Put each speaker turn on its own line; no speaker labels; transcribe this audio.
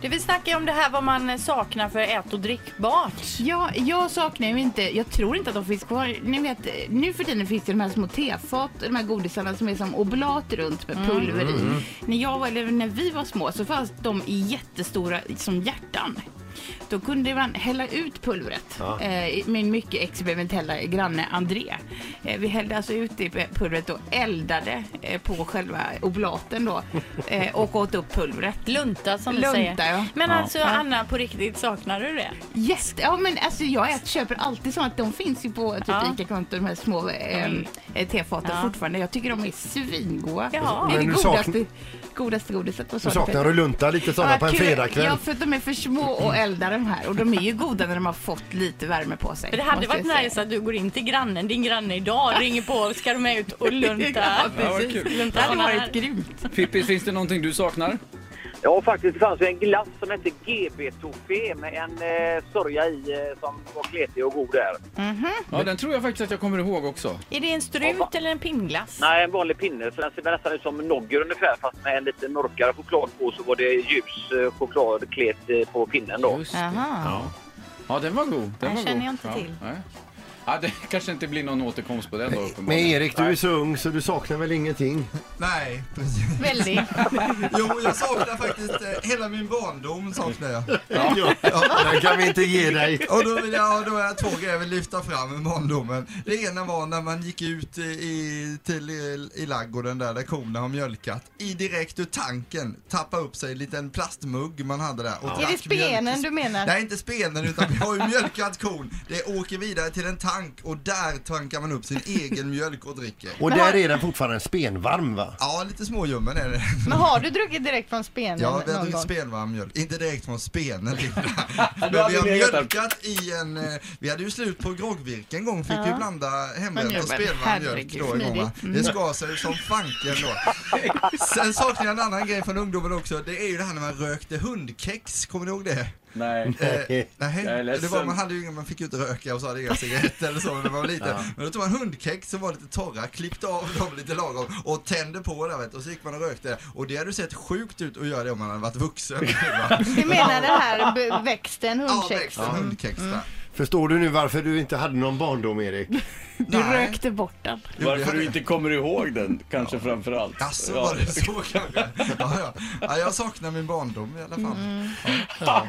Du, vi snackar ju om det här vad man saknar för ät och drickbart.
Ja, jag saknar ju inte, jag tror inte att de finns kvar. Ni vet, nu för tiden finns det de här små tefat, de här godisarna som är som oblat runt med pulver i. När jag, var- eller när vi var små så fanns de i jättestora, som hjärtan. Då kunde man hälla ut pulvret. Eh, min mycket experimentella granne André. Eh, vi hällde alltså ut det pulvret och eldade eh, på själva oblaten då. Eh, och åt upp pulvret.
Lunta som
Lunta,
du säger.
ja.
Men alltså Anna, på riktigt, saknar du det?
Yes. Ja, men alltså jag äter, köper alltid sånt. De finns ju på typ
Ja. Mm.
ica konto de här små ehm, eh, tefaten
Ja.
fortfarande. Jag tycker de är svingoda.
Jaha.
Det är det
Men du
godaste,
sakn-
godaste godiset. Och
Du saknar att lunta lite sådana på en fredagkväll.
Ja, för att de är för små och elda de här. Och de är ju goda när de har fått lite värme på sig.
För det hade
måste jag
varit
säga.
nice att du går in till grannen, din granne idag, ringer på, ska du med ut och lunta?
Ja,
Ja, vad
precis.
kul.
det
lunta
hade
Anna här.
varit grymt.
Pippi, finns det någonting du saknar?
Ja, faktiskt. Det fanns ju en glass som hette GB Toffé med en eh, sörja i eh, som var kletig och god där.
Ja, den tror jag faktiskt att jag kommer ihåg också.
Är det en strut eller en pinnglass?
Nej, en vanlig pinne. Så den ser nästan ut som nogger ungefär fast med en lite mörkare choklad på så var det ljus eh, choklad klet eh, på pinnen då.
Just det.
Jaha.
Ja. ja, den var god. Den
Den
var
känner
god.
jag inte
ja.
till.
Nej. Ja, det kanske inte blir någon återkomst på den då
Men
uppenbarligen.
Erik, du är så ung så du saknar väl ingenting?
Nej, precis.
Väldigt.
Jo, jag saknar faktiskt eh, hela min barndom saknar jag.
Ja. Den kan vi inte ge dig.
Och då, vill jag, då har jag två grejer jag vill lyfta fram i barndomen. Det ena var när man gick ut i, i, till, i, i laggården där, där korna har mjölkat. I direkt ur tanken tappa upp sig en liten plastmugg man hade där. Och
Är
drack
det spenen
mjölk.
du menar?
Nej, inte spenen utan vi har ju mjölkat kon. Det åker vidare till en tank och där tankar man upp sin egen mjölk och dricker.
Och där är den fortfarande spenvarm va?
Ja, lite småljummen är det.
Men har du druckit direkt från spenen
Ja, vi har
någon
druckit
gång?
spenvarm mjölk. Inte direkt från spenen, Linda. Men
hade
vi har
legat där.
mjölkat i en... eh, Vi hade ju slut på groggvirke en gång, fick vi blanda hembränt
Men
och
jobben,
spelvarm mjölk
herregud,
då en gång va? Det skar sig som fanken då. Sen saknar jag en annan grej från ungdomen också. Det är ju det här när man rökte hundkex, kommer ni ihåg det?
Nej.
Eh,
Jag är
nej, det
ledsen.
var, man hade ju inga, man fick ju inte röka och så hade inga cigaretter eller så när man var liten. Men då tog man hundkex som var lite torra, klippte av dem lite lagom och tände på där vet, du. och så gick man och rökte. Och det hade ju sett sjukt ut att göra det om man hade varit vuxen. Va?
Du menar den här b- växten,
Ja,
hundkex?
växten hundkex där.
Förstår du nu varför du inte hade någon barndom Erik?
Du
Nej.
rökte bort den.
Jo, det hade-
inte kommer ihåg den, kanske framför allt.
Jaså, var det så kanske? Ja, ja. ja, jag saknar min barndom i alla fall.